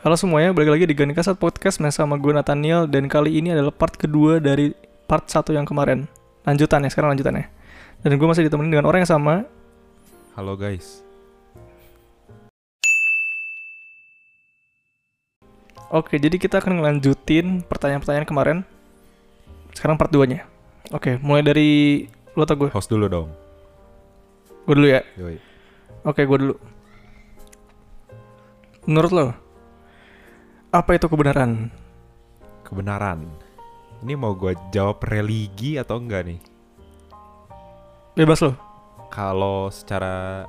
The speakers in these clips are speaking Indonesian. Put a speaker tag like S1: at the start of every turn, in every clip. S1: Halo semuanya, balik lagi di Gani Kasat Podcast bersama gue Nathaniel dan kali ini adalah part kedua dari part satu yang kemarin. Lanjutannya, sekarang lanjutannya. Dan gue masih ditemenin dengan orang yang sama.
S2: Halo guys.
S1: Oke, jadi kita akan ngelanjutin pertanyaan-pertanyaan kemarin. Sekarang part 2-nya. Oke, mulai dari lo atau gue?
S2: Host dulu dong.
S1: Gue dulu ya.
S2: Yoi.
S1: Oke, gue dulu. Menurut lo, apa itu kebenaran?
S2: Kebenaran. Ini mau gue jawab religi atau enggak nih?
S1: Bebas lo.
S2: Kalau secara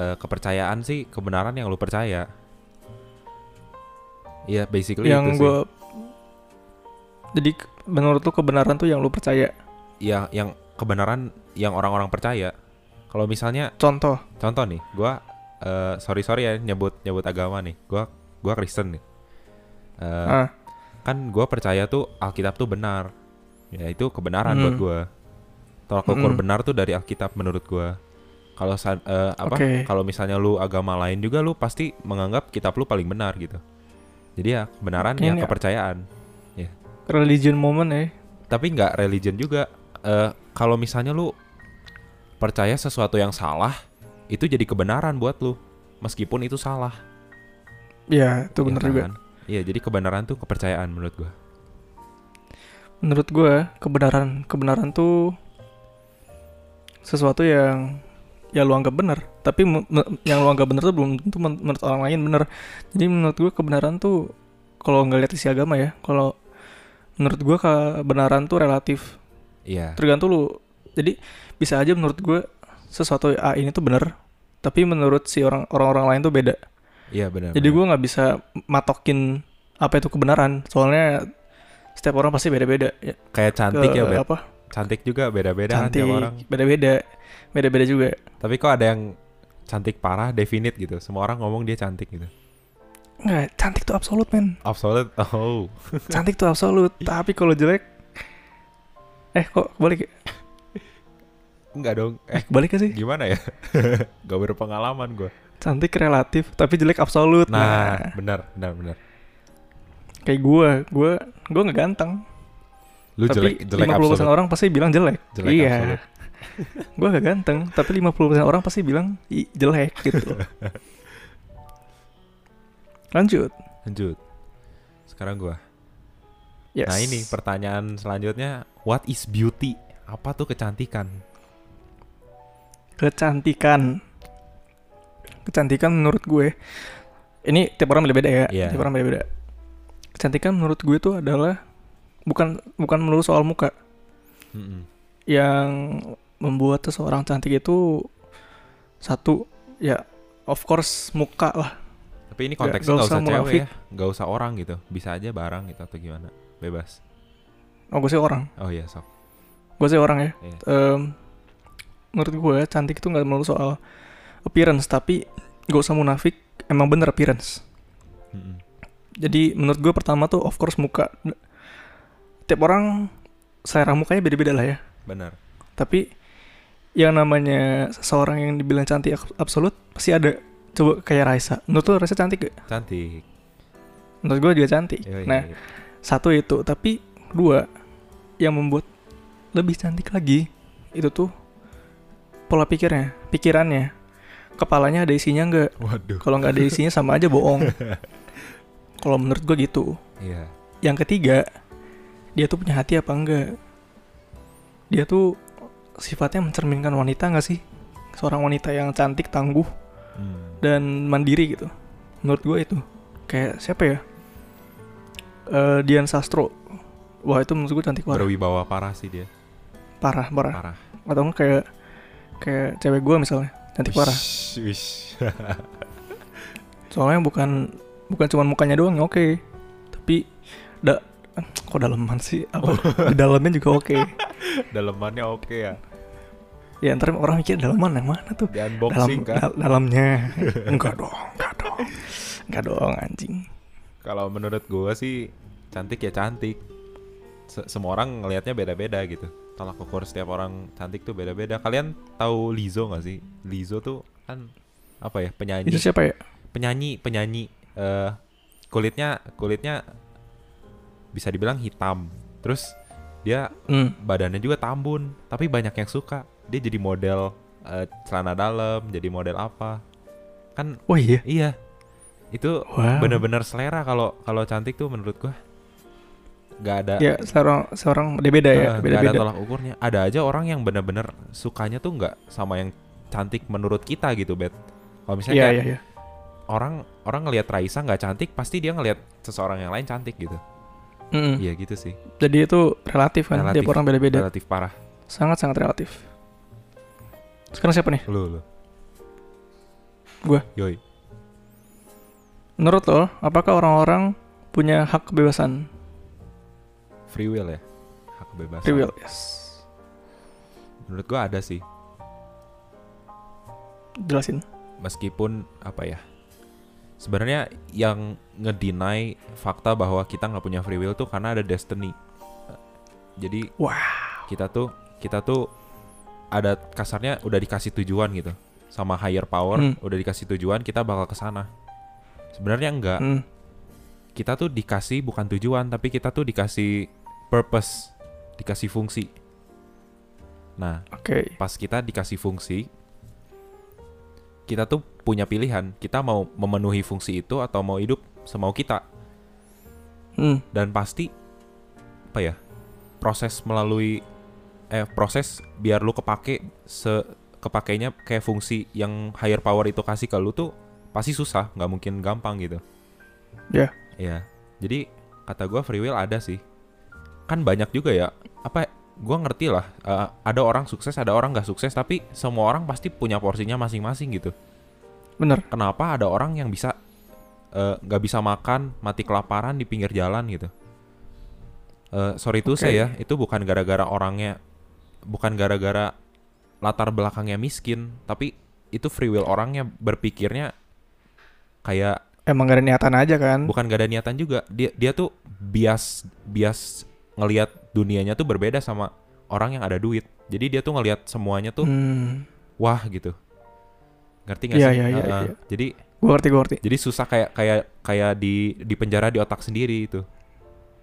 S2: eh, kepercayaan sih kebenaran yang lu percaya. Iya, basically
S1: yang
S2: itu sih.
S1: gue... Jadi menurut lo kebenaran tuh yang lo percaya.
S2: Yang Ya, yang kebenaran yang orang-orang percaya. Kalau misalnya
S1: Contoh.
S2: contoh nih, gue sorry sorry ya nyebut nyebut agama nih. Gue gua Kristen nih. Eh,
S1: Ah.
S2: kan gue percaya tuh Alkitab tuh benar ya itu kebenaran
S1: Hmm.
S2: buat gue tolak ukur
S1: Mm-mm.
S2: benar tuh dari Alkitab menurut gue kalau sa- eh, apa
S1: Oke.
S2: kalau misalnya lu agama lain juga lu pasti menganggap kitab lu paling benar gitu jadi ya kebenaran
S1: Oke,
S2: ya
S1: ini-
S2: kepercayaan
S1: religion moment ya.
S2: tapi nggak religion juga Eh, kalau misalnya lu percaya sesuatu yang salah itu jadi kebenaran buat lu meskipun itu salah
S1: Ya, itu
S2: ya
S1: bener juga.
S2: kan? iya jadi kebenaran tuh kepercayaan menurut gue
S1: Menurut gue, kebenaran kebenaran tuh sesuatu yang ya lu anggap benar, tapi mu- me- yang lu anggap benar tuh belum tentu men- menurut orang lain benar. Jadi menurut gue kebenaran tuh kalau nggak lihat isi agama ya, kalau menurut gue kebenaran tuh relatif.
S2: iya
S1: Tergantung lu. Jadi bisa aja menurut gue sesuatu A ini tuh benar, tapi menurut si orang orang lain tuh beda.
S2: iya benar
S1: Jadi
S2: benar.
S1: gue nggak bisa matokin apa itu kebenaran, soalnya setiap orang pasti beda-beda. Ya,
S2: kayak cantik
S1: ke-
S2: ya Bet?
S1: apa?
S2: cantik juga beda-beda kan
S1: Cantik,
S2: tiap orang.
S1: beda-beda, beda-beda juga.
S2: Tapi kok ada yang cantik parah definite gitu. Semua orang ngomong dia cantik gitu.
S1: Nggak, cantik tuh absolut men.
S2: Absolute. Oh.
S1: Cantik tuh absolut. Tapi kalau jelek, eh kok balik?
S2: Enggak dong. Eh,
S1: Balik sih?
S2: gimana ya? Gak berpengalaman gue.
S1: Cantik relatif, tapi jelek absolut.
S2: Nah, benar, benar, benar.
S1: kayak gue, gue, gue nggak ganteng.
S2: Lu
S1: tapi
S2: jelek jelek
S1: 50%
S2: absolute.
S1: orang pasti bilang jelek.
S2: Jelek
S1: iya.
S2: absolut.
S1: gue gak ganteng, tapi 50% orang pasti bilang "Ih, jelek gitu. Lanjut.
S2: Lanjut. Sekarang gua.
S1: Yes.
S2: Nah, ini pertanyaan selanjutnya, what is beauty? Apa tuh kecantikan?
S1: kecantikan. Kecantikan menurut gue ini tiap orang beda-beda ya.
S2: Iya.
S1: Tiap orang beda-beda. Kecantikan menurut gue itu adalah bukan bukan melulu soal muka.
S2: Mm-mm.
S1: Yang membuat seseorang cantik itu satu ya of course muka lah.
S2: Tapi ini
S1: Nggak- nggak Ya,
S2: konteksnya nggak
S1: usah
S2: usah cewek
S1: munafik.
S2: ya, nggak usah orang gitu, bisa aja barang gitu atau gimana, bebas.
S1: Oh gue sih orang.
S2: Oh iya sok.
S1: Gue sih orang ya.
S2: Iya.
S1: Em, menurut gue cantik itu nggak melulu soal appearance tapi gak usah munafik emang bener appearance.
S2: Mm-mm.
S1: Jadi menurut gue pertama tuh of course muka. Tiap orang selera mukanya beda-beda lah ya.
S2: Benar.
S1: Tapi yang namanya seseorang yang dibilang cantik ab- absolut pasti ada. Coba kayak Raisa. Menurut lo Raisa cantik gak?
S2: Cantik.
S1: Menurut gue juga cantik.
S2: Yoi.
S1: Nah satu itu. Tapi dua yang membuat lebih cantik lagi itu tuh pola pikirnya, pikirannya. Kepalanya ada isinya nggak?
S2: Waduh.
S1: Kalau nggak ada isinya sama aja bohong. Kalau menurut gue gitu.
S2: Iya.
S1: Yang ketiga, dia tuh punya hati apa enggak? Dia tuh sifatnya mencerminkan wanita nggak sih? Seorang wanita yang cantik, tangguh,
S2: Hmm.
S1: dan mandiri gitu. Menurut gue itu. Kayak siapa ya? Eh, Dian Sastro. Wah itu menurut gue cantik banget.
S2: Berwibawa parah sih dia.
S1: Parah, parah.
S2: Parah.
S1: Atau enggak kayak kayak cewek gue misalnya. Cantik parah.
S2: Wish, wish.
S1: Soalnya bukan bukan cuma mukanya doang yang oke. Tapi da kok daleman sih? Apa? Di dalamnya juga oke.
S2: Dalemannya oke ya.
S1: Ya ntar orang mikir dalaman yang mana tuh?
S2: Di unboxing
S1: Dalam-
S2: kan.
S1: dal- dalamnya. enggak dong, enggak dong. Enggak dong anjing.
S2: Kalau menurut gua sih cantik ya cantik. Se- semua orang ngelihatnya beda-beda gitu. Tolak ukur setiap orang cantik tuh beda-beda. Kalian tahu Lizzo gak sih? Lizzo tuh kan apa ya penyanyi
S1: Itu siapa ya?
S2: penyanyi penyanyi eh eh, kulitnya kulitnya bisa dibilang hitam. Terus dia
S1: Hmm.
S2: badannya juga tambun, tapi banyak yang suka. Dia jadi model eh, celana dalam, jadi model apa? Kan
S1: Wah iya.
S2: iya. Itu
S1: Wow.
S2: bener-bener selera kalau kalau cantik tuh menurut gua nggak ada
S1: Ya seorang seorang beda-beda ya,
S2: eh, nggak ada
S1: beda-beda.
S2: tolak ukurnya ada aja orang yang bener-bener sukanya tuh nggak sama yang cantik menurut kita gitu bet kalau misalnya
S1: Iya
S2: kayak
S1: iya iya.
S2: orang orang ngelihat Raisa nggak cantik pasti dia ngelihat seseorang yang lain cantik gitu
S1: Mm-mm.
S2: iya gitu sih
S1: Jadi itu relatif kan,
S2: Relatif.
S1: tiap orang beda-beda.
S2: relatif parah
S1: Sangat-sangat relatif. Sekarang siapa nih?
S2: lu lu
S1: Gua.
S2: yoi
S1: Menurut lo, apakah orang-orang punya hak kebebasan?
S2: free will ya hak kebebasan
S1: Free will, yes.
S2: menurut gua ada sih
S1: Jelasin.
S2: meskipun apa ya sebenarnya yang ngedinai fakta bahwa kita nggak punya free will tuh karena ada destiny jadi
S1: Wah.
S2: kita tuh kita tuh ada kasarnya udah dikasih tujuan gitu sama higher power
S1: Hmm.
S2: udah dikasih tujuan kita bakal ke sana sebenarnya enggak
S1: Hmm.
S2: kita tuh dikasih bukan tujuan tapi kita tuh dikasih purpose dikasih fungsi nah
S1: Oke.
S2: pas kita dikasih fungsi kita tuh punya pilihan kita mau memenuhi fungsi itu atau mau hidup semau kita
S1: Hmm.
S2: dan pasti apa ya proses melalui eh proses biar lu kepake se kepakainya kayak fungsi yang higher power itu kasih ke lu tuh pasti susah nggak mungkin gampang gitu
S1: Ya.
S2: Iya. Jadi kata gua free will ada sih. Kan banyak juga ya. Apa? Gua ngerti lah. eh, ada orang sukses, ada orang nggak sukses. Tapi semua orang pasti punya porsinya masing-masing gitu.
S1: Bener.
S2: Kenapa ada orang yang bisa eh, nggak bisa makan, mati kelaparan di pinggir jalan gitu? Eh, sorry tuh
S1: Oke.
S2: saya ya, itu bukan gara-gara orangnya, bukan gara-gara latar belakangnya miskin, tapi itu free will orangnya berpikirnya kayak
S1: Emang gak ada niatan aja kan?
S2: bukan gak ada niatan juga dia dia tuh bias bias ngelihat dunianya tuh berbeda sama orang yang ada duit jadi dia tuh ngelihat semuanya tuh
S1: Hmm.
S2: wah gitu ngerti gak
S1: Iya,
S2: sih
S1: iya, iya,
S2: Heeh.
S1: iya.
S2: jadi
S1: Gue ngerti, gue ngerti.
S2: jadi susah kayak kayak kayak di di penjara di otak sendiri itu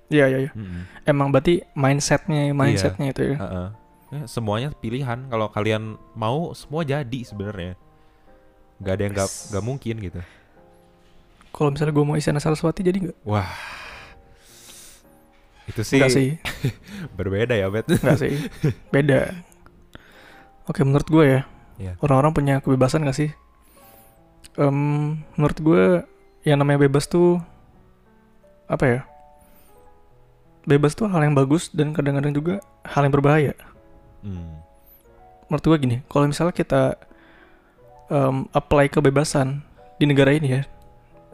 S1: Iya, iya, iya.
S2: Mm-mm.
S1: Emang berarti mindsetnya,
S2: Iya.
S1: mindsetnya itu ya.
S2: Heeh. Ya, semuanya pilihan kalau kalian mau semua jadi sebenarnya nggak ada yang nggak
S1: Yes.
S2: nggak mungkin gitu
S1: Kalau misalnya gue mau Isyana Saraswati jadi nggak?
S2: wah itu sih
S1: Nggak sih,
S2: berbeda ya bet
S1: nggak sih. Beda. Oke, menurut gue ya,
S2: Iya.
S1: orang-orang punya kebebasan gak sih? Em, menurut gue, yang namanya bebas tuh apa ya? Bebas tuh hal yang bagus dan kadang-kadang juga hal yang berbahaya.
S2: Hmm.
S1: menurut gue gini, kalau misalnya kita em, apply kebebasan di negara ini ya,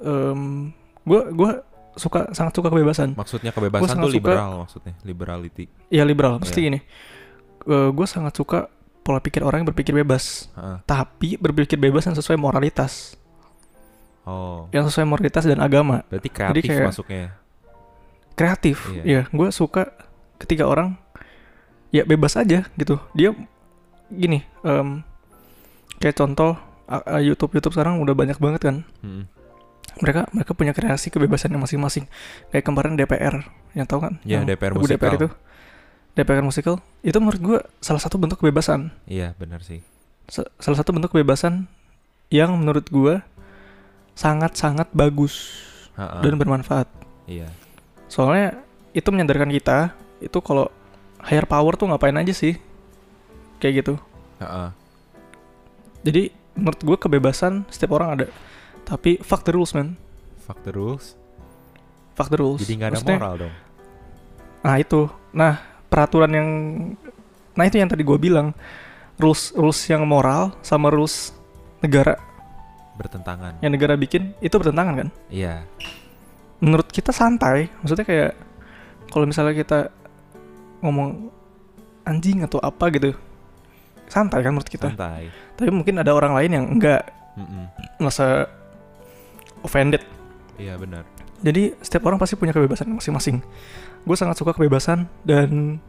S1: em, gue gua suka sangat suka kebebasan.
S2: Maksudnya kebebasan
S1: sangat
S2: tuh
S1: suka-
S2: liberal maksudnya, liberality.
S1: Ya liberal, mesti gini. gue sangat suka pola pikir orang yang berpikir bebas,
S2: Heeh.
S1: tapi berpikir bebas yang sesuai moralitas,
S2: Oh.
S1: yang sesuai moralitas dan agama,
S2: Berarti kreatif
S1: kayak-
S2: masuknya. ya?
S1: kreatif.
S2: Iya.
S1: Ya, gue suka ketika orang ya bebas aja gitu. Dia gini, em, kayak contoh YouTube YouTube sekarang udah banyak banget kan.
S2: Mm-mm.
S1: mereka mereka punya kreasi kebebasannya masing-masing kayak kemarin DPR yang tahu kan
S2: Iya,
S1: Yang
S2: DPR
S1: lagu DPR
S2: musikal.
S1: itu DPR musical itu menurut gue salah satu bentuk kebebasan
S2: Iya, benar sih.
S1: Se- salah satu bentuk kebebasan yang menurut gue sangat-sangat bagus
S2: Heeh.
S1: dan bermanfaat
S2: Iya.
S1: soalnya itu menyadarkan kita itu kalau higher power tuh ngapain aja sih kayak gitu
S2: Heeh.
S1: jadi menurut gue kebebasan setiap orang ada tapi fuck the rules man
S2: Fuck the rules.
S1: fuck the rules
S2: Jadi nggak ada
S1: Maksudnya-
S2: moral dong.
S1: Nah itu, nah peraturan yang, nah itu yang tadi gue bilang rules rules yang moral sama rules negara
S2: Bertentangan.
S1: yang negara bikin itu bertentangan kan?
S2: Iya.
S1: Menurut kita santai, maksudnya kayak kalau misalnya kita ngomong anjing atau apa gitu santai kan menurut kita.
S2: Santai.
S1: Tapi mungkin ada orang lain yang enggak
S2: Mm-mm.
S1: merasa offended.
S2: Iya, benar.
S1: Jadi setiap orang pasti punya kebebasan masing-masing. Gue sangat suka kebebasan dan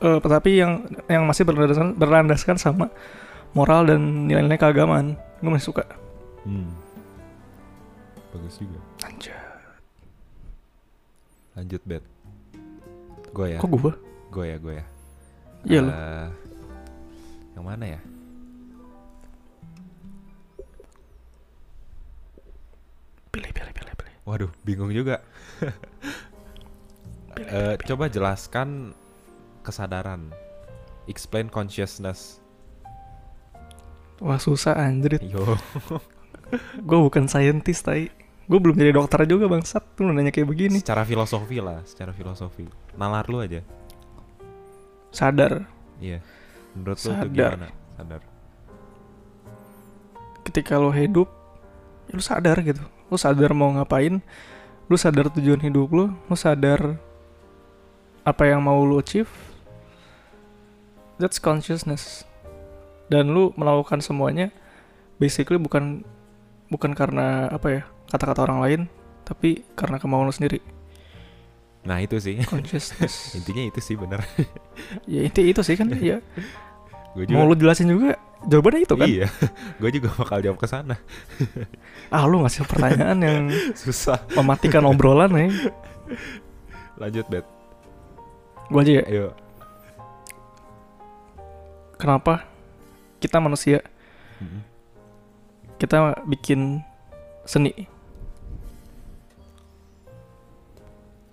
S1: eh tetapi yang yang masih berlandaskan berlandaskan sama Hmm. moral dan nilai-nilai keagamaan. Gue masih suka.
S2: Hmm. bagus juga
S1: Anjir.
S2: lanjut bet gue ya
S1: Kok gua?
S2: gue ya gue ya
S1: Iya lo.
S2: Eh, yang mana ya
S1: Pilih, pilih, pilih, pilih.
S2: waduh bingung juga
S1: Pilih,
S2: Eh, coba jelaskan kesadaran explain consciousness
S1: Wah susah anjrit.
S2: yo
S1: Gue bukan saintis tai. Gue belum jadi dokter juga bangsat. Tuh nanya kayak begini.
S2: secara filosofi lah secara filosofi nalar lu aja
S1: Sadar.
S2: iya menurut lu tuh
S1: Sadar.
S2: gimana sadar
S1: Ketika lo hidup, ya lo sadar gitu. Lo sadar mau ngapain. Lo sadar tujuan hidup lo. Lo sadar apa yang mau lo achieve. That's consciousness. Dan lu melakukan semuanya basically bukan bukan karena apa ya kata-kata orang lain, tapi karena kemauan lo sendiri.
S2: nah itu sih
S1: Consciousness.
S2: intinya itu sih bener
S1: ya inti itu sih kan ya
S2: gue
S1: mau lu jelasin juga jawabannya itu kan
S2: iya gue juga bakal jawab ke sana
S1: ah lu ngasih pertanyaan yang
S2: susah
S1: mematikan obrolan eh. nih
S2: lanjut bet
S1: gua aja ya
S2: ayo
S1: kenapa kita manusia
S2: Mm-mm.
S1: kita bikin seni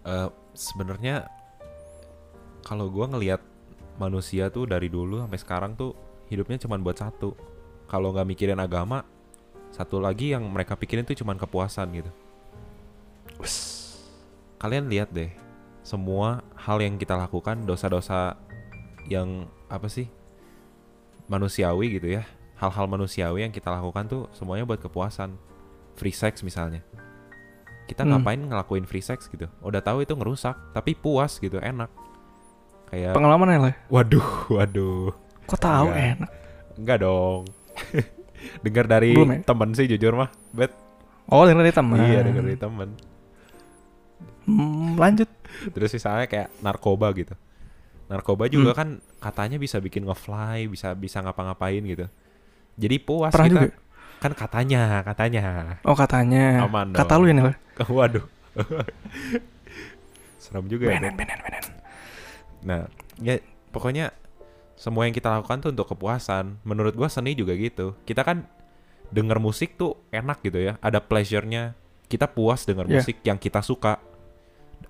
S2: Eh, sebenarnya kalau gue ngelihat manusia tuh dari dulu sampai sekarang tuh hidupnya cuman buat satu kalau nggak mikirin agama satu lagi yang mereka pikirin tuh cuman kepuasan gitu kalian lihat deh semua hal yang kita lakukan dosa-dosa yang apa sih manusiawi gitu ya hal-hal manusiawi yang kita lakukan tuh semuanya buat kepuasan free sex misalnya kita
S1: Hmm.
S2: ngapain ngelakuin free sex gitu udah tahu itu ngerusak tapi puas gitu enak kayak
S1: pengalaman ya lah
S2: waduh waduh
S1: kok tahu
S2: Enggak.
S1: enak
S2: enggak dong dengar dari
S1: Belum ya?
S2: temen sih jujur mah bet
S1: oh dengar dari teman
S2: iya dengar dari temen
S1: Hmm, lanjut
S2: Terus misalnya kayak narkoba gitu. Narkoba
S1: Hmm.
S2: juga kan katanya bisa bikin ngefly, bisa bisa ngapa-ngapain gitu. Jadi puas
S1: Pernah
S2: kita
S1: juga? ya?
S2: kan katanya, katanya.
S1: oh katanya
S2: Aman
S1: kata lu
S2: dong.
S1: ya nih
S2: Waduh. Serem juga ya.
S1: benen benen benen
S2: Nah, ya pokoknya semua yang kita lakukan tuh untuk kepuasan. Menurut gua seni juga gitu. Kita kan denger musik tuh enak gitu ya. Ada pleasure-nya. Kita puas denger
S1: Iya.
S2: musik yang kita suka.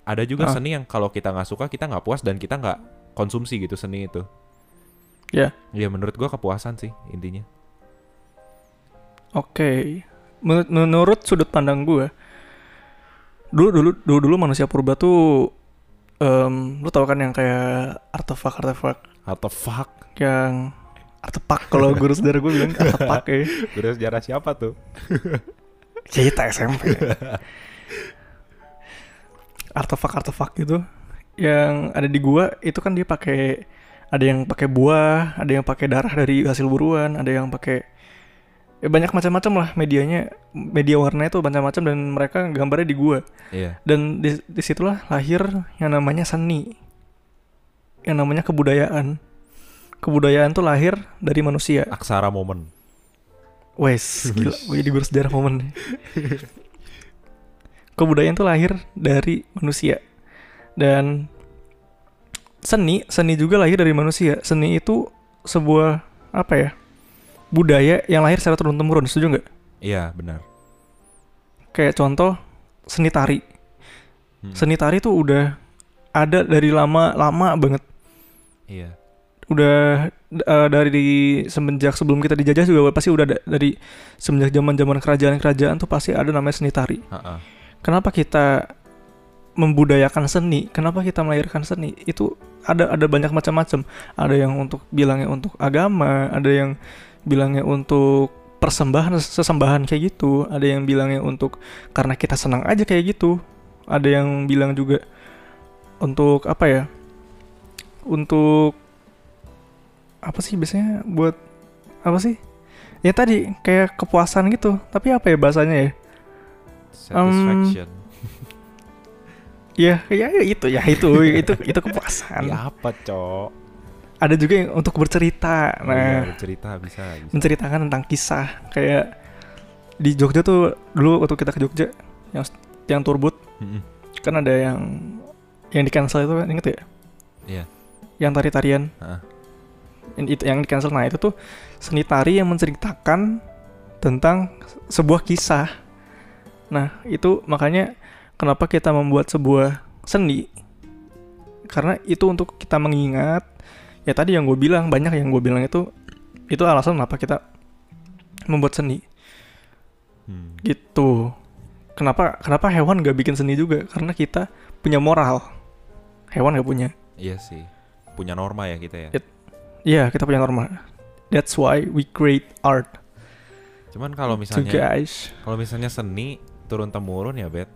S2: Ada juga
S1: Ah.
S2: seni yang kalau kita nggak suka kita nggak puas dan kita nggak konsumsi gitu seni itu.
S1: Iya.
S2: Ya menurut gua kepuasan sih intinya.
S1: oke Menurut- menurut sudut pandang gua dulu dulu dulu dulu manusia purba tuh em, lu tau kan yang kayak artefak artefak
S2: Atau fuck.
S1: yang artefak kalau guru saudara gue bilang artefak ya
S2: Guru sejarah siapa tuh?
S1: cerita SMP artefak-artefak gitu yang ada di gua itu kan dia pakai ada yang pakai buah ada yang pakai darah dari hasil buruan ada yang pakai ya banyak macam-macam lah medianya media warnanya tuh macam-macam dan mereka gambarnya di gua
S2: Iya.
S1: dan di disitulah lahir yang namanya seni yang namanya kebudayaan kebudayaan tuh lahir dari manusia
S2: Aksara momen.
S1: Wes, gila. Gue jadi guru sejarah momen nih. Kebudayaan tuh lahir dari manusia. Dan seni, seni juga lahir dari manusia. Seni itu sebuah apa ya? Budaya yang lahir secara turun-temurun, setuju nggak?
S2: Iya, benar.
S1: Kayak contoh seni tari.
S2: Hmm.
S1: Seni tari tuh udah ada dari lama-lama banget.
S2: Iya.
S1: udah eh, dari di- semenjak sebelum kita dijajah juga pasti udah ada- dari semenjak zaman-zaman kerajaan-kerajaan tuh pasti ada namanya seni tari.
S2: Ha-ha.
S1: Kenapa kita membudayakan seni? Kenapa kita melahirkan seni? Itu ada ada banyak macam-macam. Ada yang untuk bilangnya untuk agama, ada yang bilangnya untuk persembahan sesembahan kayak gitu, ada yang bilangnya untuk karena kita senang aja kayak gitu. Ada yang bilang juga untuk apa ya? Untuk apa sih biasanya buat apa sih? Ya tadi kayak kepuasan gitu. Tapi apa ya bahasanya ya?
S2: Satisfaction.
S1: Ya, ya ya itu ya itu itu itu kepuasan.
S2: Iya apa, Cok?
S1: Ada juga yang untuk bercerita.
S2: Oh iya,
S1: Nah,
S2: bercerita bisa, bisa.
S1: menceritakan tentang kisah kayak di Jogja tuh dulu waktu kita ke Jogja yang yang turbut
S2: Mm-mm.
S1: kan ada yang yang di cancel itu kan inget ya
S2: Iya.
S1: yang tari tarian
S2: Ah.
S1: yang itu yang di cancel nah itu tuh seni tari yang menceritakan tentang se- sebuah kisah nah itu makanya kenapa kita membuat sebuah seni karena itu untuk kita mengingat ya tadi yang gue bilang banyak yang gue bilang itu itu alasan kenapa kita membuat seni
S2: Hmm.
S1: gitu kenapa kenapa hewan gak bikin seni juga karena kita punya moral hewan gak punya
S2: Iya sih. Punya norma ya kita ya.
S1: Iya. iya kita punya norma that's why we create art
S2: Cuman kalau
S1: to
S2: misalnya
S1: guys
S2: kalau misalnya seni turun temurun ya, Bet.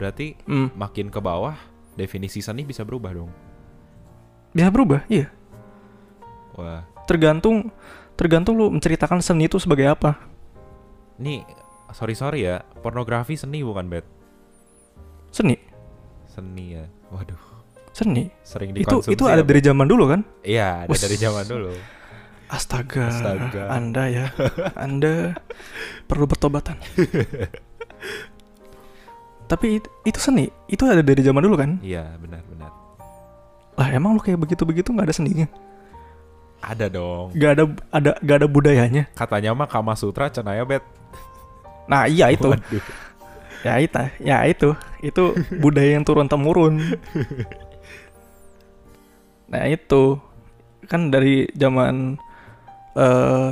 S2: Berarti
S1: Hmm,
S2: makin ke bawah definisi seni bisa berubah dong.
S1: bisa berubah iya
S2: Wah,
S1: tergantung tergantung lu menceritakan seni itu sebagai apa
S2: Nih, sorry sorry ya, pornografi seni bukan bet,
S1: seni
S2: seni ya. Waduh,
S1: seni
S2: sering
S1: itu
S2: dikonsumsi.
S1: itu ada
S2: ya, Bet.
S1: dari zaman dulu kan
S2: Iya, ada
S1: Wuss.
S2: dari zaman dulu.
S1: astaga,
S2: Astaga.
S1: anda ya anda perlu bertobatan tapi it- itu seni itu ada dari zaman dulu kan
S2: Iya, benar-benar.
S1: lah emang lu kayak begitu begitu nggak ada seninya
S2: Ada dong.
S1: gak ada ada gak ada budayanya.
S2: Katanya mah Kama Sutra cenaya bet.
S1: Nah iya itu,
S2: Waduh.
S1: ya itu, ya itu, itu budaya yang turun temurun. Nah itu kan dari zaman eh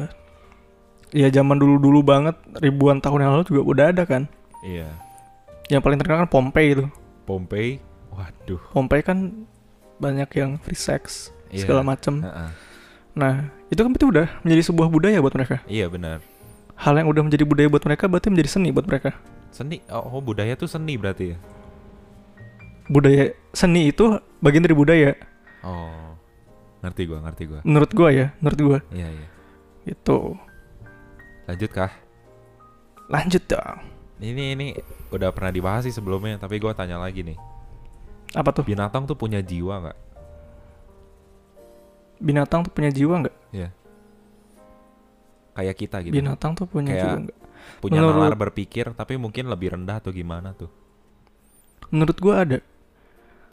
S1: ya zaman dulu dulu banget ribuan tahun yang lalu juga udah ada kan.
S2: Iya.
S1: Yang paling terkenal kan Pompei itu.
S2: Pompei. Waduh.
S1: Pompei kan banyak yang free sex
S2: Iya.
S1: segala macem.
S2: Heeh.
S1: Nah itu kan berarti udah menjadi sebuah budaya buat mereka.
S2: Iya benar.
S1: Hal yang udah menjadi budaya buat mereka berarti menjadi seni buat mereka.
S2: Seni. Oh, oh, budaya tuh seni berarti ya.
S1: budaya seni itu bagian dari budaya
S2: Oh. Ngerti gua, ngerti gua.
S1: menurut gua ya menurut gua gitu.
S2: Iya, iya.
S1: itu
S2: Lanjut kah?
S1: lanjut dong
S2: Ini ini udah pernah dibahas sih sebelumnya, tapi gua tanya lagi nih.
S1: apa tuh
S2: Binatang tuh punya jiwa nggak?
S1: binatang tuh punya jiwa nggak
S2: Iya. Kayak kita gitu.
S1: binatang tuh punya
S2: Kayak-
S1: jiwa nggak
S2: punya
S1: Menurut-
S2: nalar berpikir tapi mungkin lebih rendah atau gimana tuh
S1: menurut gua ada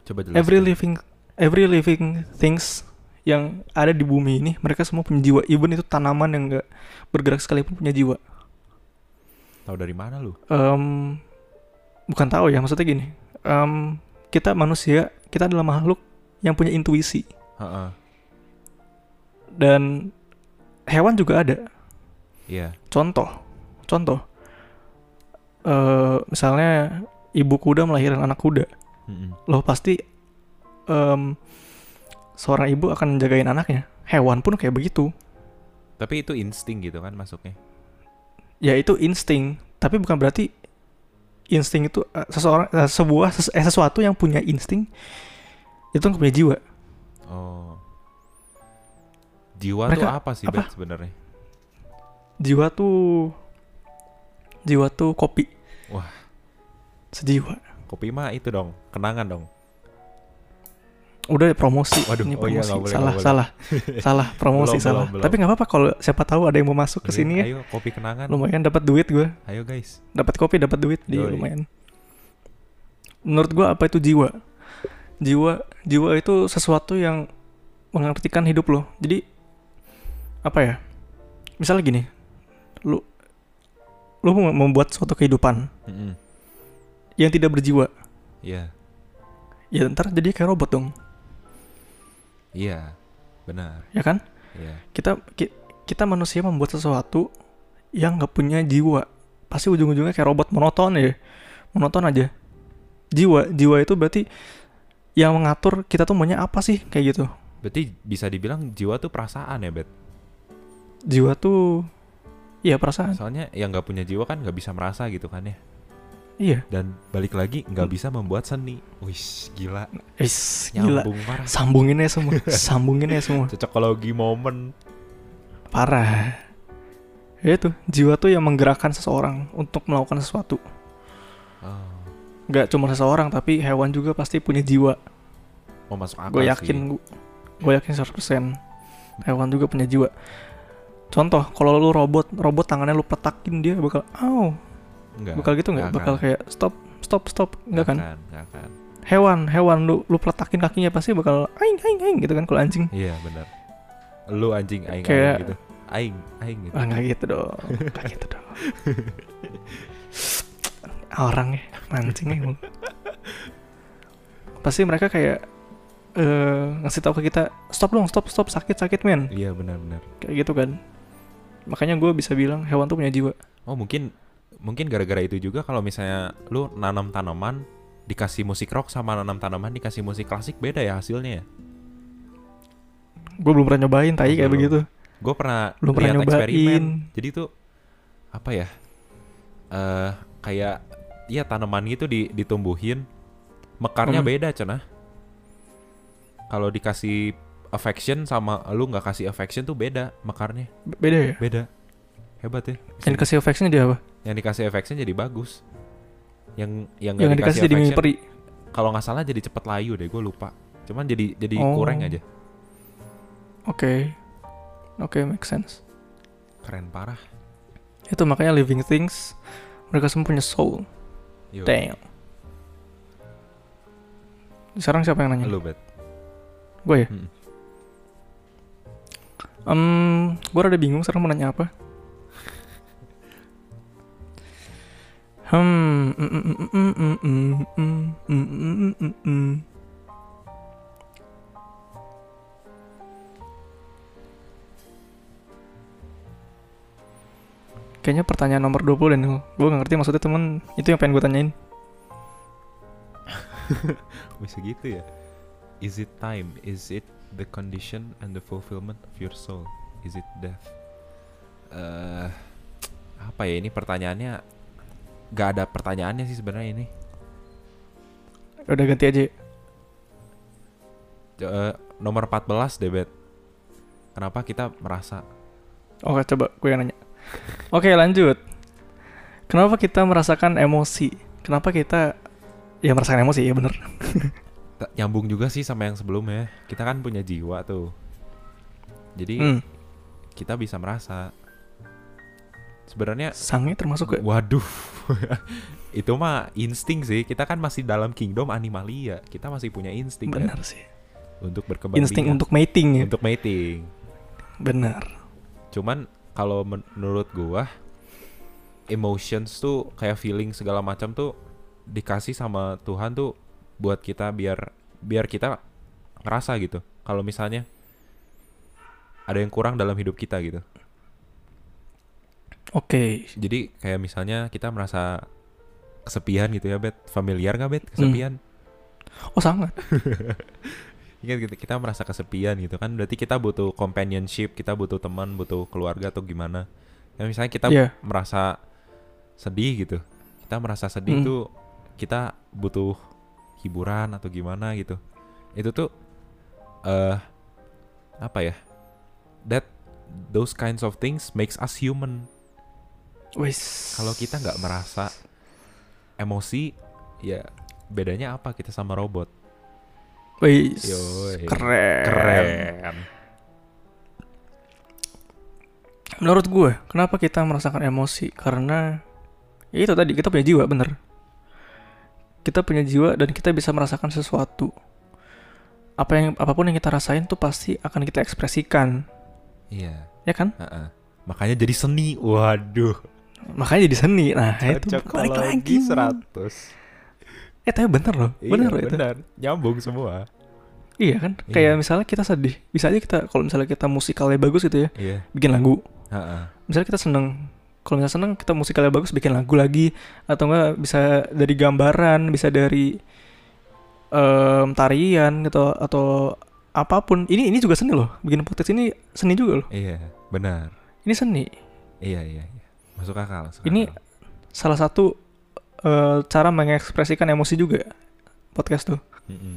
S2: coba jelaskan
S1: every living every living things yang ada di bumi ini mereka semua punya jiwa even itu tanaman yang nggak bergerak sekalipun punya jiwa
S2: tahu dari mana lu
S1: Em, bukan tahu ya maksudnya gini Em, kita manusia kita adalah makhluk yang punya intuisi
S2: Heeh.
S1: dan hewan juga ada
S2: iya
S1: contoh contoh eh misalnya ibu kuda melahirkan anak kuda
S2: Mm-mm.
S1: loh pasti em, seorang ibu akan jagain anaknya hewan pun kayak begitu
S2: tapi itu insting gitu kan masuknya
S1: ya itu insting tapi bukan berarti insting itu eh, seseorang eh, sebuah ses- eh, sesuatu yang punya insting itu nggak punya jiwa
S2: oh jiwa tuh
S1: Mereka-
S2: apa sih
S1: apa?
S2: bet sebenarnya
S1: jiwa tuh jiwa tuh kopi
S2: Wah.
S1: sejiwa
S2: kopi mah itu dong kenangan dong
S1: udah promosi
S2: Waduh,
S1: ini
S2: oh iya,
S1: promosi
S2: nggak boleh,
S1: salah
S2: nggak boleh.
S1: salah salah promosi
S2: Belum,
S1: salah
S2: belum, belum.
S1: tapi nggak apa-apa kalau siapa tahu ada yang mau masuk ke
S2: Iya,
S1: sini ya
S2: ayo kopi kenangan
S1: lumayan dapat duit gua
S2: ayo guys
S1: dapat kopi dapat duit di
S2: Yoi.
S1: lumayan menurut gua apa itu jiwa jiwa jiwa itu sesuatu yang mengartikan hidup lo jadi apa ya misalnya gini lu lu mau membuat suatu kehidupan
S2: Mm-mm.
S1: yang tidak berjiwa
S2: iya
S1: ya ntar jadi kayak robot dong
S2: iya benar
S1: ya kan
S2: iya
S1: kita ki- kita manusia membuat sesuatu yang nggak punya jiwa pasti ujung-ujungnya kayak robot monoton ya monoton aja jiwa jiwa itu berarti yang mengatur kita tuh maunya apa sih kayak gitu
S2: berarti bisa dibilang jiwa tuh perasaan ya bet
S1: jiwa tuh iya perasaan
S2: soalnya yang nggak punya jiwa kan nggak bisa merasa gitu kan ya
S1: iya
S2: dan balik lagi nggak
S1: Hmm.
S2: bisa membuat seni wih gila
S1: Is, gila
S2: nyambung parah
S1: sambungin aja semua sambungin aja semua
S2: cocokologi momen
S1: parah ya itu jiwa tuh yang menggerakkan seseorang untuk melakukan sesuatu
S2: Oh,
S1: nggak cuma seseorang tapi hewan juga pasti punya jiwa
S2: mau masuk akal
S1: gue
S2: sih.
S1: yakin gue yakin 100% hewan juga punya jiwa contoh kalau lu robot robot tangannya lu petakin dia bakal oh
S2: Enggak.
S1: bakal gitu nggak
S2: nggak
S1: bakal
S2: akan.
S1: kayak stop stop stop nggak kan
S2: akan, nggak akan.
S1: hewan hewan lu lu peletakin kakinya pasti bakal aing aing aing gitu kan kalau anjing
S2: Iya benar. Lu anjing aing
S1: Kayak-
S2: aing gitu. Aing aing gitu.
S1: ah nggak gitu dong nggak gitu dong orang ya mancing ya pasti mereka kayak eh ngasih tahu ke kita stop dong stop stop sakit sakit men
S2: Iya benar benar.
S1: kayak gitu kan makanya gue bisa bilang hewan tuh punya jiwa
S2: Oh mungkin mungkin gara-gara itu juga kalau misalnya lu nanam tanaman dikasih musik rock sama nanam tanaman dikasih musik klasik beda ya hasilnya.
S1: gue belum pernah nyobain tai kayak
S2: Belum.
S1: begitu
S2: Gue pernah
S1: Belum pernah
S2: lihat
S1: nyobain.
S2: eksperimen. Jadi tuh apa ya? Eh kayak ya tanaman gitu di, ditumbuhin mekarnya
S1: Hmm.
S2: beda cenah. Kalau dikasih affection sama lu nggak kasih affection tuh beda mekarnya.
S1: B- beda ya
S2: Beda. Hebat ya.
S1: yang dikasih efeknya dia apa
S2: Yang dikasih affection jadi bagus. Yang yang nggak
S1: yang dikasih jadi mimpi
S2: affection,
S1: peri
S2: kalau nggak salah jadi cepet layu deh gue lupa cuman jadi jadi
S1: Oh.
S2: kurang aja
S1: oke oke make sense
S2: keren parah
S1: itu makanya living things mereka semua punya soul
S2: Yo,
S1: damn sekarang siapa yang nanya
S2: lu bet
S1: Gue ya?
S2: Mm.
S1: Em, gue rada bingung sekarang mau nanya apa. Hmm. mm, mm, mm, mm, mm, mm, mm, mm, mm, mm, mm, mm. Kayaknya pertanyaan nomor 20 dan gue gak ngerti maksudnya temen Itu yang pengen gue tanyain
S2: bisa gitu ya is it time is it the condition and the fulfillment of your soul is it death eh apa ya ini pertanyaannya nggak ada pertanyaannya sih sebenarnya ini
S1: Udah ganti aja ya.
S2: Eh, nomor 14 deh bet kenapa kita merasa
S1: Oke Oh, coba gue yang nanya Oke lanjut Kenapa kita merasakan emosi? Kenapa kita Ya merasakan emosi ya bener
S2: Ta- nyambung juga sih sama yang sebelumnya kita kan punya jiwa tuh jadi
S1: hmm.
S2: kita bisa merasa sebenarnya
S1: Sangnya termasuk ya? ke
S2: waduh itu mah insting sih kita kan masih dalam kingdom animalia kita masih punya insting kan,
S1: Bener sih
S2: untuk berkembang
S1: Insting
S2: biak,
S1: untuk mating ya
S2: untuk mating
S1: Bener
S2: cuman kalau menurut gua emotions tuh kayak feeling segala macam tuh dikasih sama Tuhan tuh buat kita biar biar kita ngerasa gitu kalau misalnya ada yang kurang dalam hidup kita gitu
S1: Oke
S2: Jadi kayak misalnya kita merasa kesepian gitu ya, Bet. Familiar nggak, Bet? Kesepian.
S1: Oh sangat Hmm.
S2: Ingat gitu, kita merasa kesepian gitu kan. Berarti kita butuh companionship, kita butuh teman, butuh keluarga atau gimana. Ya misalnya kita
S1: Iya.
S2: merasa sedih gitu. Kita merasa sedih
S1: Hmm.
S2: tuh kita butuh hiburan atau gimana gitu. Itu tuh eh apa ya? That those kinds of things makes us human.
S1: Wis
S2: Kalau kita nggak merasa emosi ya bedanya apa kita sama robot
S1: Wis
S2: Yoi.
S1: Keren Menurut gue Kenapa kita merasakan emosi? Karena Ya itu tadi kita punya jiwa bener Kita punya jiwa dan kita bisa merasakan sesuatu apa yang apapun yang kita rasain tuh pasti akan kita ekspresikan
S2: iya
S1: ya kan
S2: heeh. makanya jadi seni waduh
S1: makanya jadi seni nah itu
S2: Cocok
S1: balik
S2: kalau
S1: lagi
S2: 100
S1: eh tapi bener loh bener
S2: iya,
S1: loh itu
S2: benar nyambung semua
S1: iya kan
S2: Iya.
S1: kayak misalnya kita sedih bisa aja kita kalau misalnya kita musikalnya bagus gitu ya
S2: iya
S1: bikin lagu
S2: heeh.
S1: misalnya kita seneng kalau misalnya seneng kita musikalnya bagus bikin lagu lagi atau enggak bisa dari gambaran bisa dari em, tarian gitu atau apapun ini ini juga seni loh bikin podcast ini seni juga loh
S2: iya benar
S1: ini seni
S2: iya iya iya. masuk akal masuk
S1: Ini-
S2: akal.
S1: salah satu eh, cara mengekspresikan emosi juga podcast tuh
S2: Mm-mm.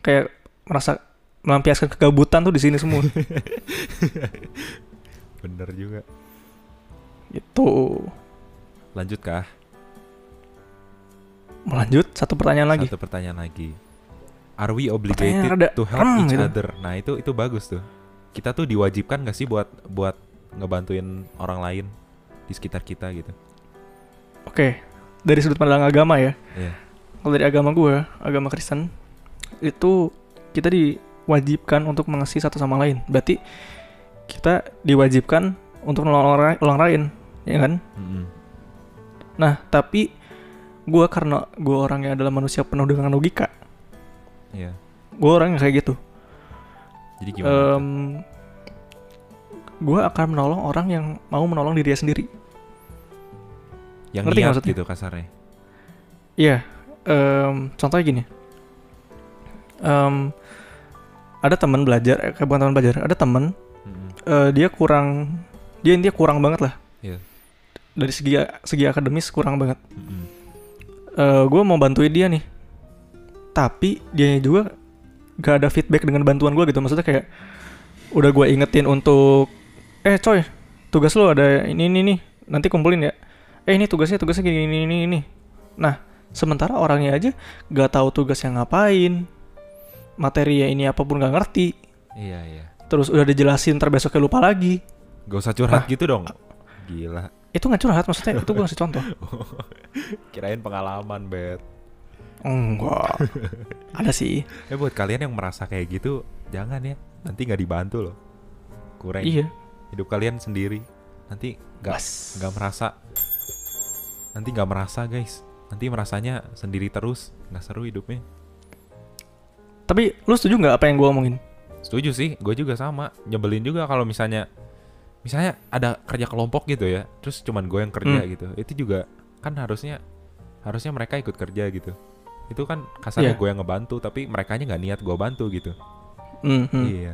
S1: kayak merasa melampiaskan kegabutan tuh di sini semua
S2: bener juga
S1: gitu
S2: lanjut kah
S1: melanjut satu pertanyaan lagi
S2: satu pertanyaan lagi are we obligated
S1: Pertanyaan rada
S2: to help
S1: rem
S2: each
S1: gitu.
S2: other nah itu itu bagus tuh kita tuh diwajibkan gak sih buat buat ngebantuin orang lain di sekitar kita gitu.
S1: Oke, dari sudut pandang agama ya.
S2: Iya.
S1: Kalau dari agama gue, agama Kristen, itu kita diwajibkan untuk mengasihi satu sama lain. Berarti kita diwajibkan untuk menolong orang, orang lain, ya kan?
S2: Mm-mm.
S1: Nah, tapi gue karena gue orangnya adalah manusia penuh dengan logika,
S2: Iya.
S1: gue orangnya kayak gitu.
S2: Jadi gimana?
S1: gue akan menolong orang yang mau menolong dirinya sendiri.
S2: yang
S1: ngerti nggak
S2: niat
S1: maksudnya?
S2: gitu kasarnya.
S1: Iya, em, contohnya gini. Em, ada teman belajar, eh, bukan teman belajar, ada teman
S2: Mm-mm.
S1: eh, dia kurang, dia intinya kurang banget lah.
S2: Iya.
S1: Dari segi segi akademis kurang banget.
S2: Mm-mm.
S1: gue mau bantuin dia nih, tapi dia juga gak ada feedback dengan bantuan gue gitu. Maksudnya kayak udah gue ingetin untuk, eh coy, tugas lo ada ini ini nih, nanti kumpulin ya. Eh ini tugasnya tugasnya gini ini ini ini. Nah sementara orangnya aja gak tahu tugasnya ngapain, materi ya ini apapun gak ngerti.
S2: Iya iya.
S1: Terus udah dijelasin terbesoknya lupa lagi.
S2: Gak usah curhat gitu dong. Gila.
S1: Itu nggak curhat maksudnya, itu gue ngasih contoh.
S2: Kirain pengalaman bet.
S1: Enggak. ada sih.
S2: Eh buat kalian yang merasa kayak gitu, jangan ya. Nanti nggak dibantu loh. Kurang
S1: Iya.
S2: hidup kalian sendiri. Nanti nggak
S1: Mas.
S2: nggak merasa. Nanti nggak merasa guys. Nanti merasanya sendiri terus. Nggak seru hidupnya.
S1: Tapi lu setuju nggak apa yang gue omongin?
S2: Setuju sih. Gue juga sama. Nyebelin juga kalau misalnya, misalnya ada kerja kelompok gitu ya. Terus cuman gue yang kerja
S1: Hmm.
S2: gitu. Itu juga kan harusnya harusnya mereka ikut kerja gitu. Itu kan kasarnya
S1: Iya.
S2: gue yang ngebantu, tapi merekanya nggak niat gue bantu gitu.
S1: Hmm, hmm.
S2: Iya.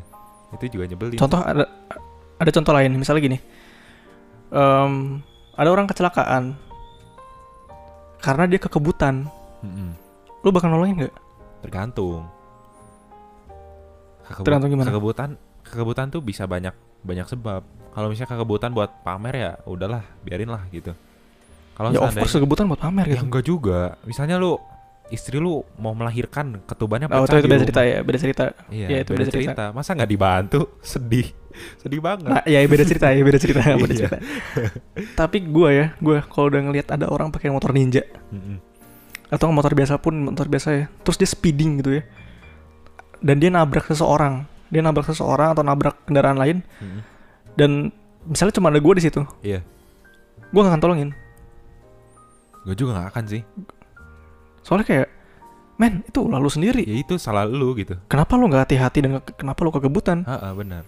S2: Itu juga nyebelin.
S1: Contoh ada ada contoh lain, misalnya gini, Em, ada orang kecelakaan karena dia kekebutan.
S2: Mm-mm.
S1: Lu bakal nolongin nggak?
S2: Tergantung. Kekebu-
S1: Tergantung gimana?
S2: Kekebutan, kekebutan tuh bisa banyak banyak sebab. Kalau misalnya kekebutan buat pamer ya udahlah, biarin lah gitu. Kalau
S1: Ya of
S2: seandainya
S1: course kekebutan buat pamer
S2: ya
S1: gitu.
S2: enggak juga. Misalnya lu istri lu mau melahirkan ketubannya
S1: Oh, itu,
S2: pecah
S1: itu
S2: di
S1: beda
S2: rumah.
S1: cerita ya, beda cerita.
S2: Iya,
S1: Ya, itu
S2: beda,
S1: beda cerita.
S2: cerita. Masa nggak dibantu? Sedih. Sedih banget.
S1: Nah, ya beda cerita ya, beda cerita, beda
S2: Iya.
S1: cerita. Tapi gua ya, gua kalau udah ngelihat ada orang pakai motor ninja
S2: Mm-mm.
S1: atau motor biasa pun motor biasa ya, terus dia speeding gitu ya. Dan dia nabrak seseorang, dia nabrak seseorang atau nabrak kendaraan lain
S2: Mm-mm.
S1: dan misalnya cuma ada gua di situ,
S2: Iya.
S1: gua gak akan tolongin.
S2: Gue juga nggak akan sih.
S1: Soalnya kayak, men itu ulah lu sendiri.
S2: Ya itu salah lu gitu.
S1: Kenapa lu nggak hati-hati dan ke- kenapa lu kegebutan?
S2: Heeh, benar.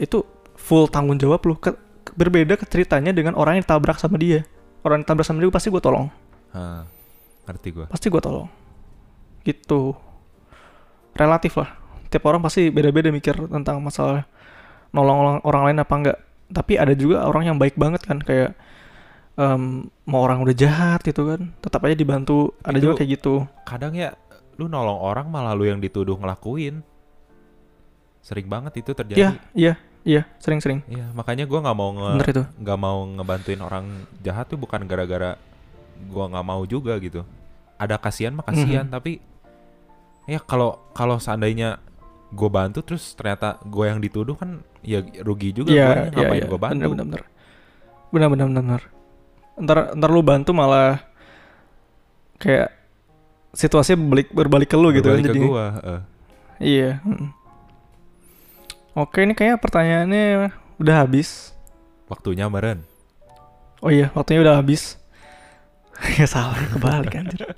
S1: Itu full tanggung jawab lu. Ke- ke- berbeda ke ceritanya dengan orang yang ditabrak sama dia. Orang yang ditabrak sama dia pasti gue tolong.
S2: Heeh. Ngerti gua.
S1: Pasti gue tolong. Gitu. Relatif lah. Tiap orang pasti beda-beda mikir tentang masalah nolong orang, orang lain apa enggak. Tapi ada juga orang yang baik banget kan kayak em, mau orang udah jahat gitu kan, tetap aja dibantu. Ada
S2: Itu-
S1: juga kayak gitu.
S2: kadang ya lu nolong orang malah lu yang dituduh ngelakuin sering banget itu
S1: Iya,
S2: terjadi
S1: iya, iya, sering-sering.
S2: Iya, makanya gua nggak mau nge
S1: Bener itu.
S2: nggak mau ngebantuin orang jahat tuh bukan gara-gara gua nggak mau juga gitu ada kasihan mah kasihan
S1: Mhm.
S2: tapi ya kalau kalau seandainya gue bantu terus ternyata gue yang dituduh kan ya rugi juga guanya, ngapain gue bantu
S1: Iya, Bener, bener, bener. Bener, bener, bener, bener. Ntar, ntar lu bantu malah kayak situasinya balik, berbalik ke lu gitu kan
S2: Berbalik ke
S1: jadinya.
S2: gua, eh.
S1: Iya. mm. Oke, ini kayaknya pertanyaannya udah habis.
S2: waktunya meren
S1: Oh iya, waktunya udah habis. ya salah, kebalik anjir.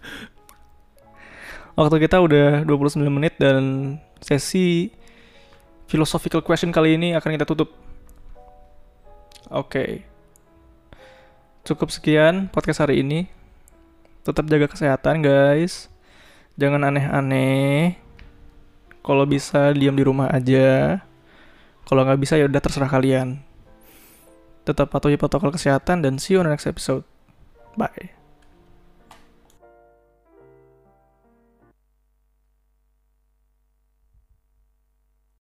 S1: Waktu kita udah 29 menit dan sesi philosophical question kali ini akan kita tutup. Oke. Cukup sekian podcast hari ini. Tetap jaga kesehatan, guys. Jangan aneh-aneh. Kalau bisa diam di rumah aja. Kalau nggak bisa ya udah terserah kalian tetap patuhi protokol kesehatan dan see you on the next episode. Bye.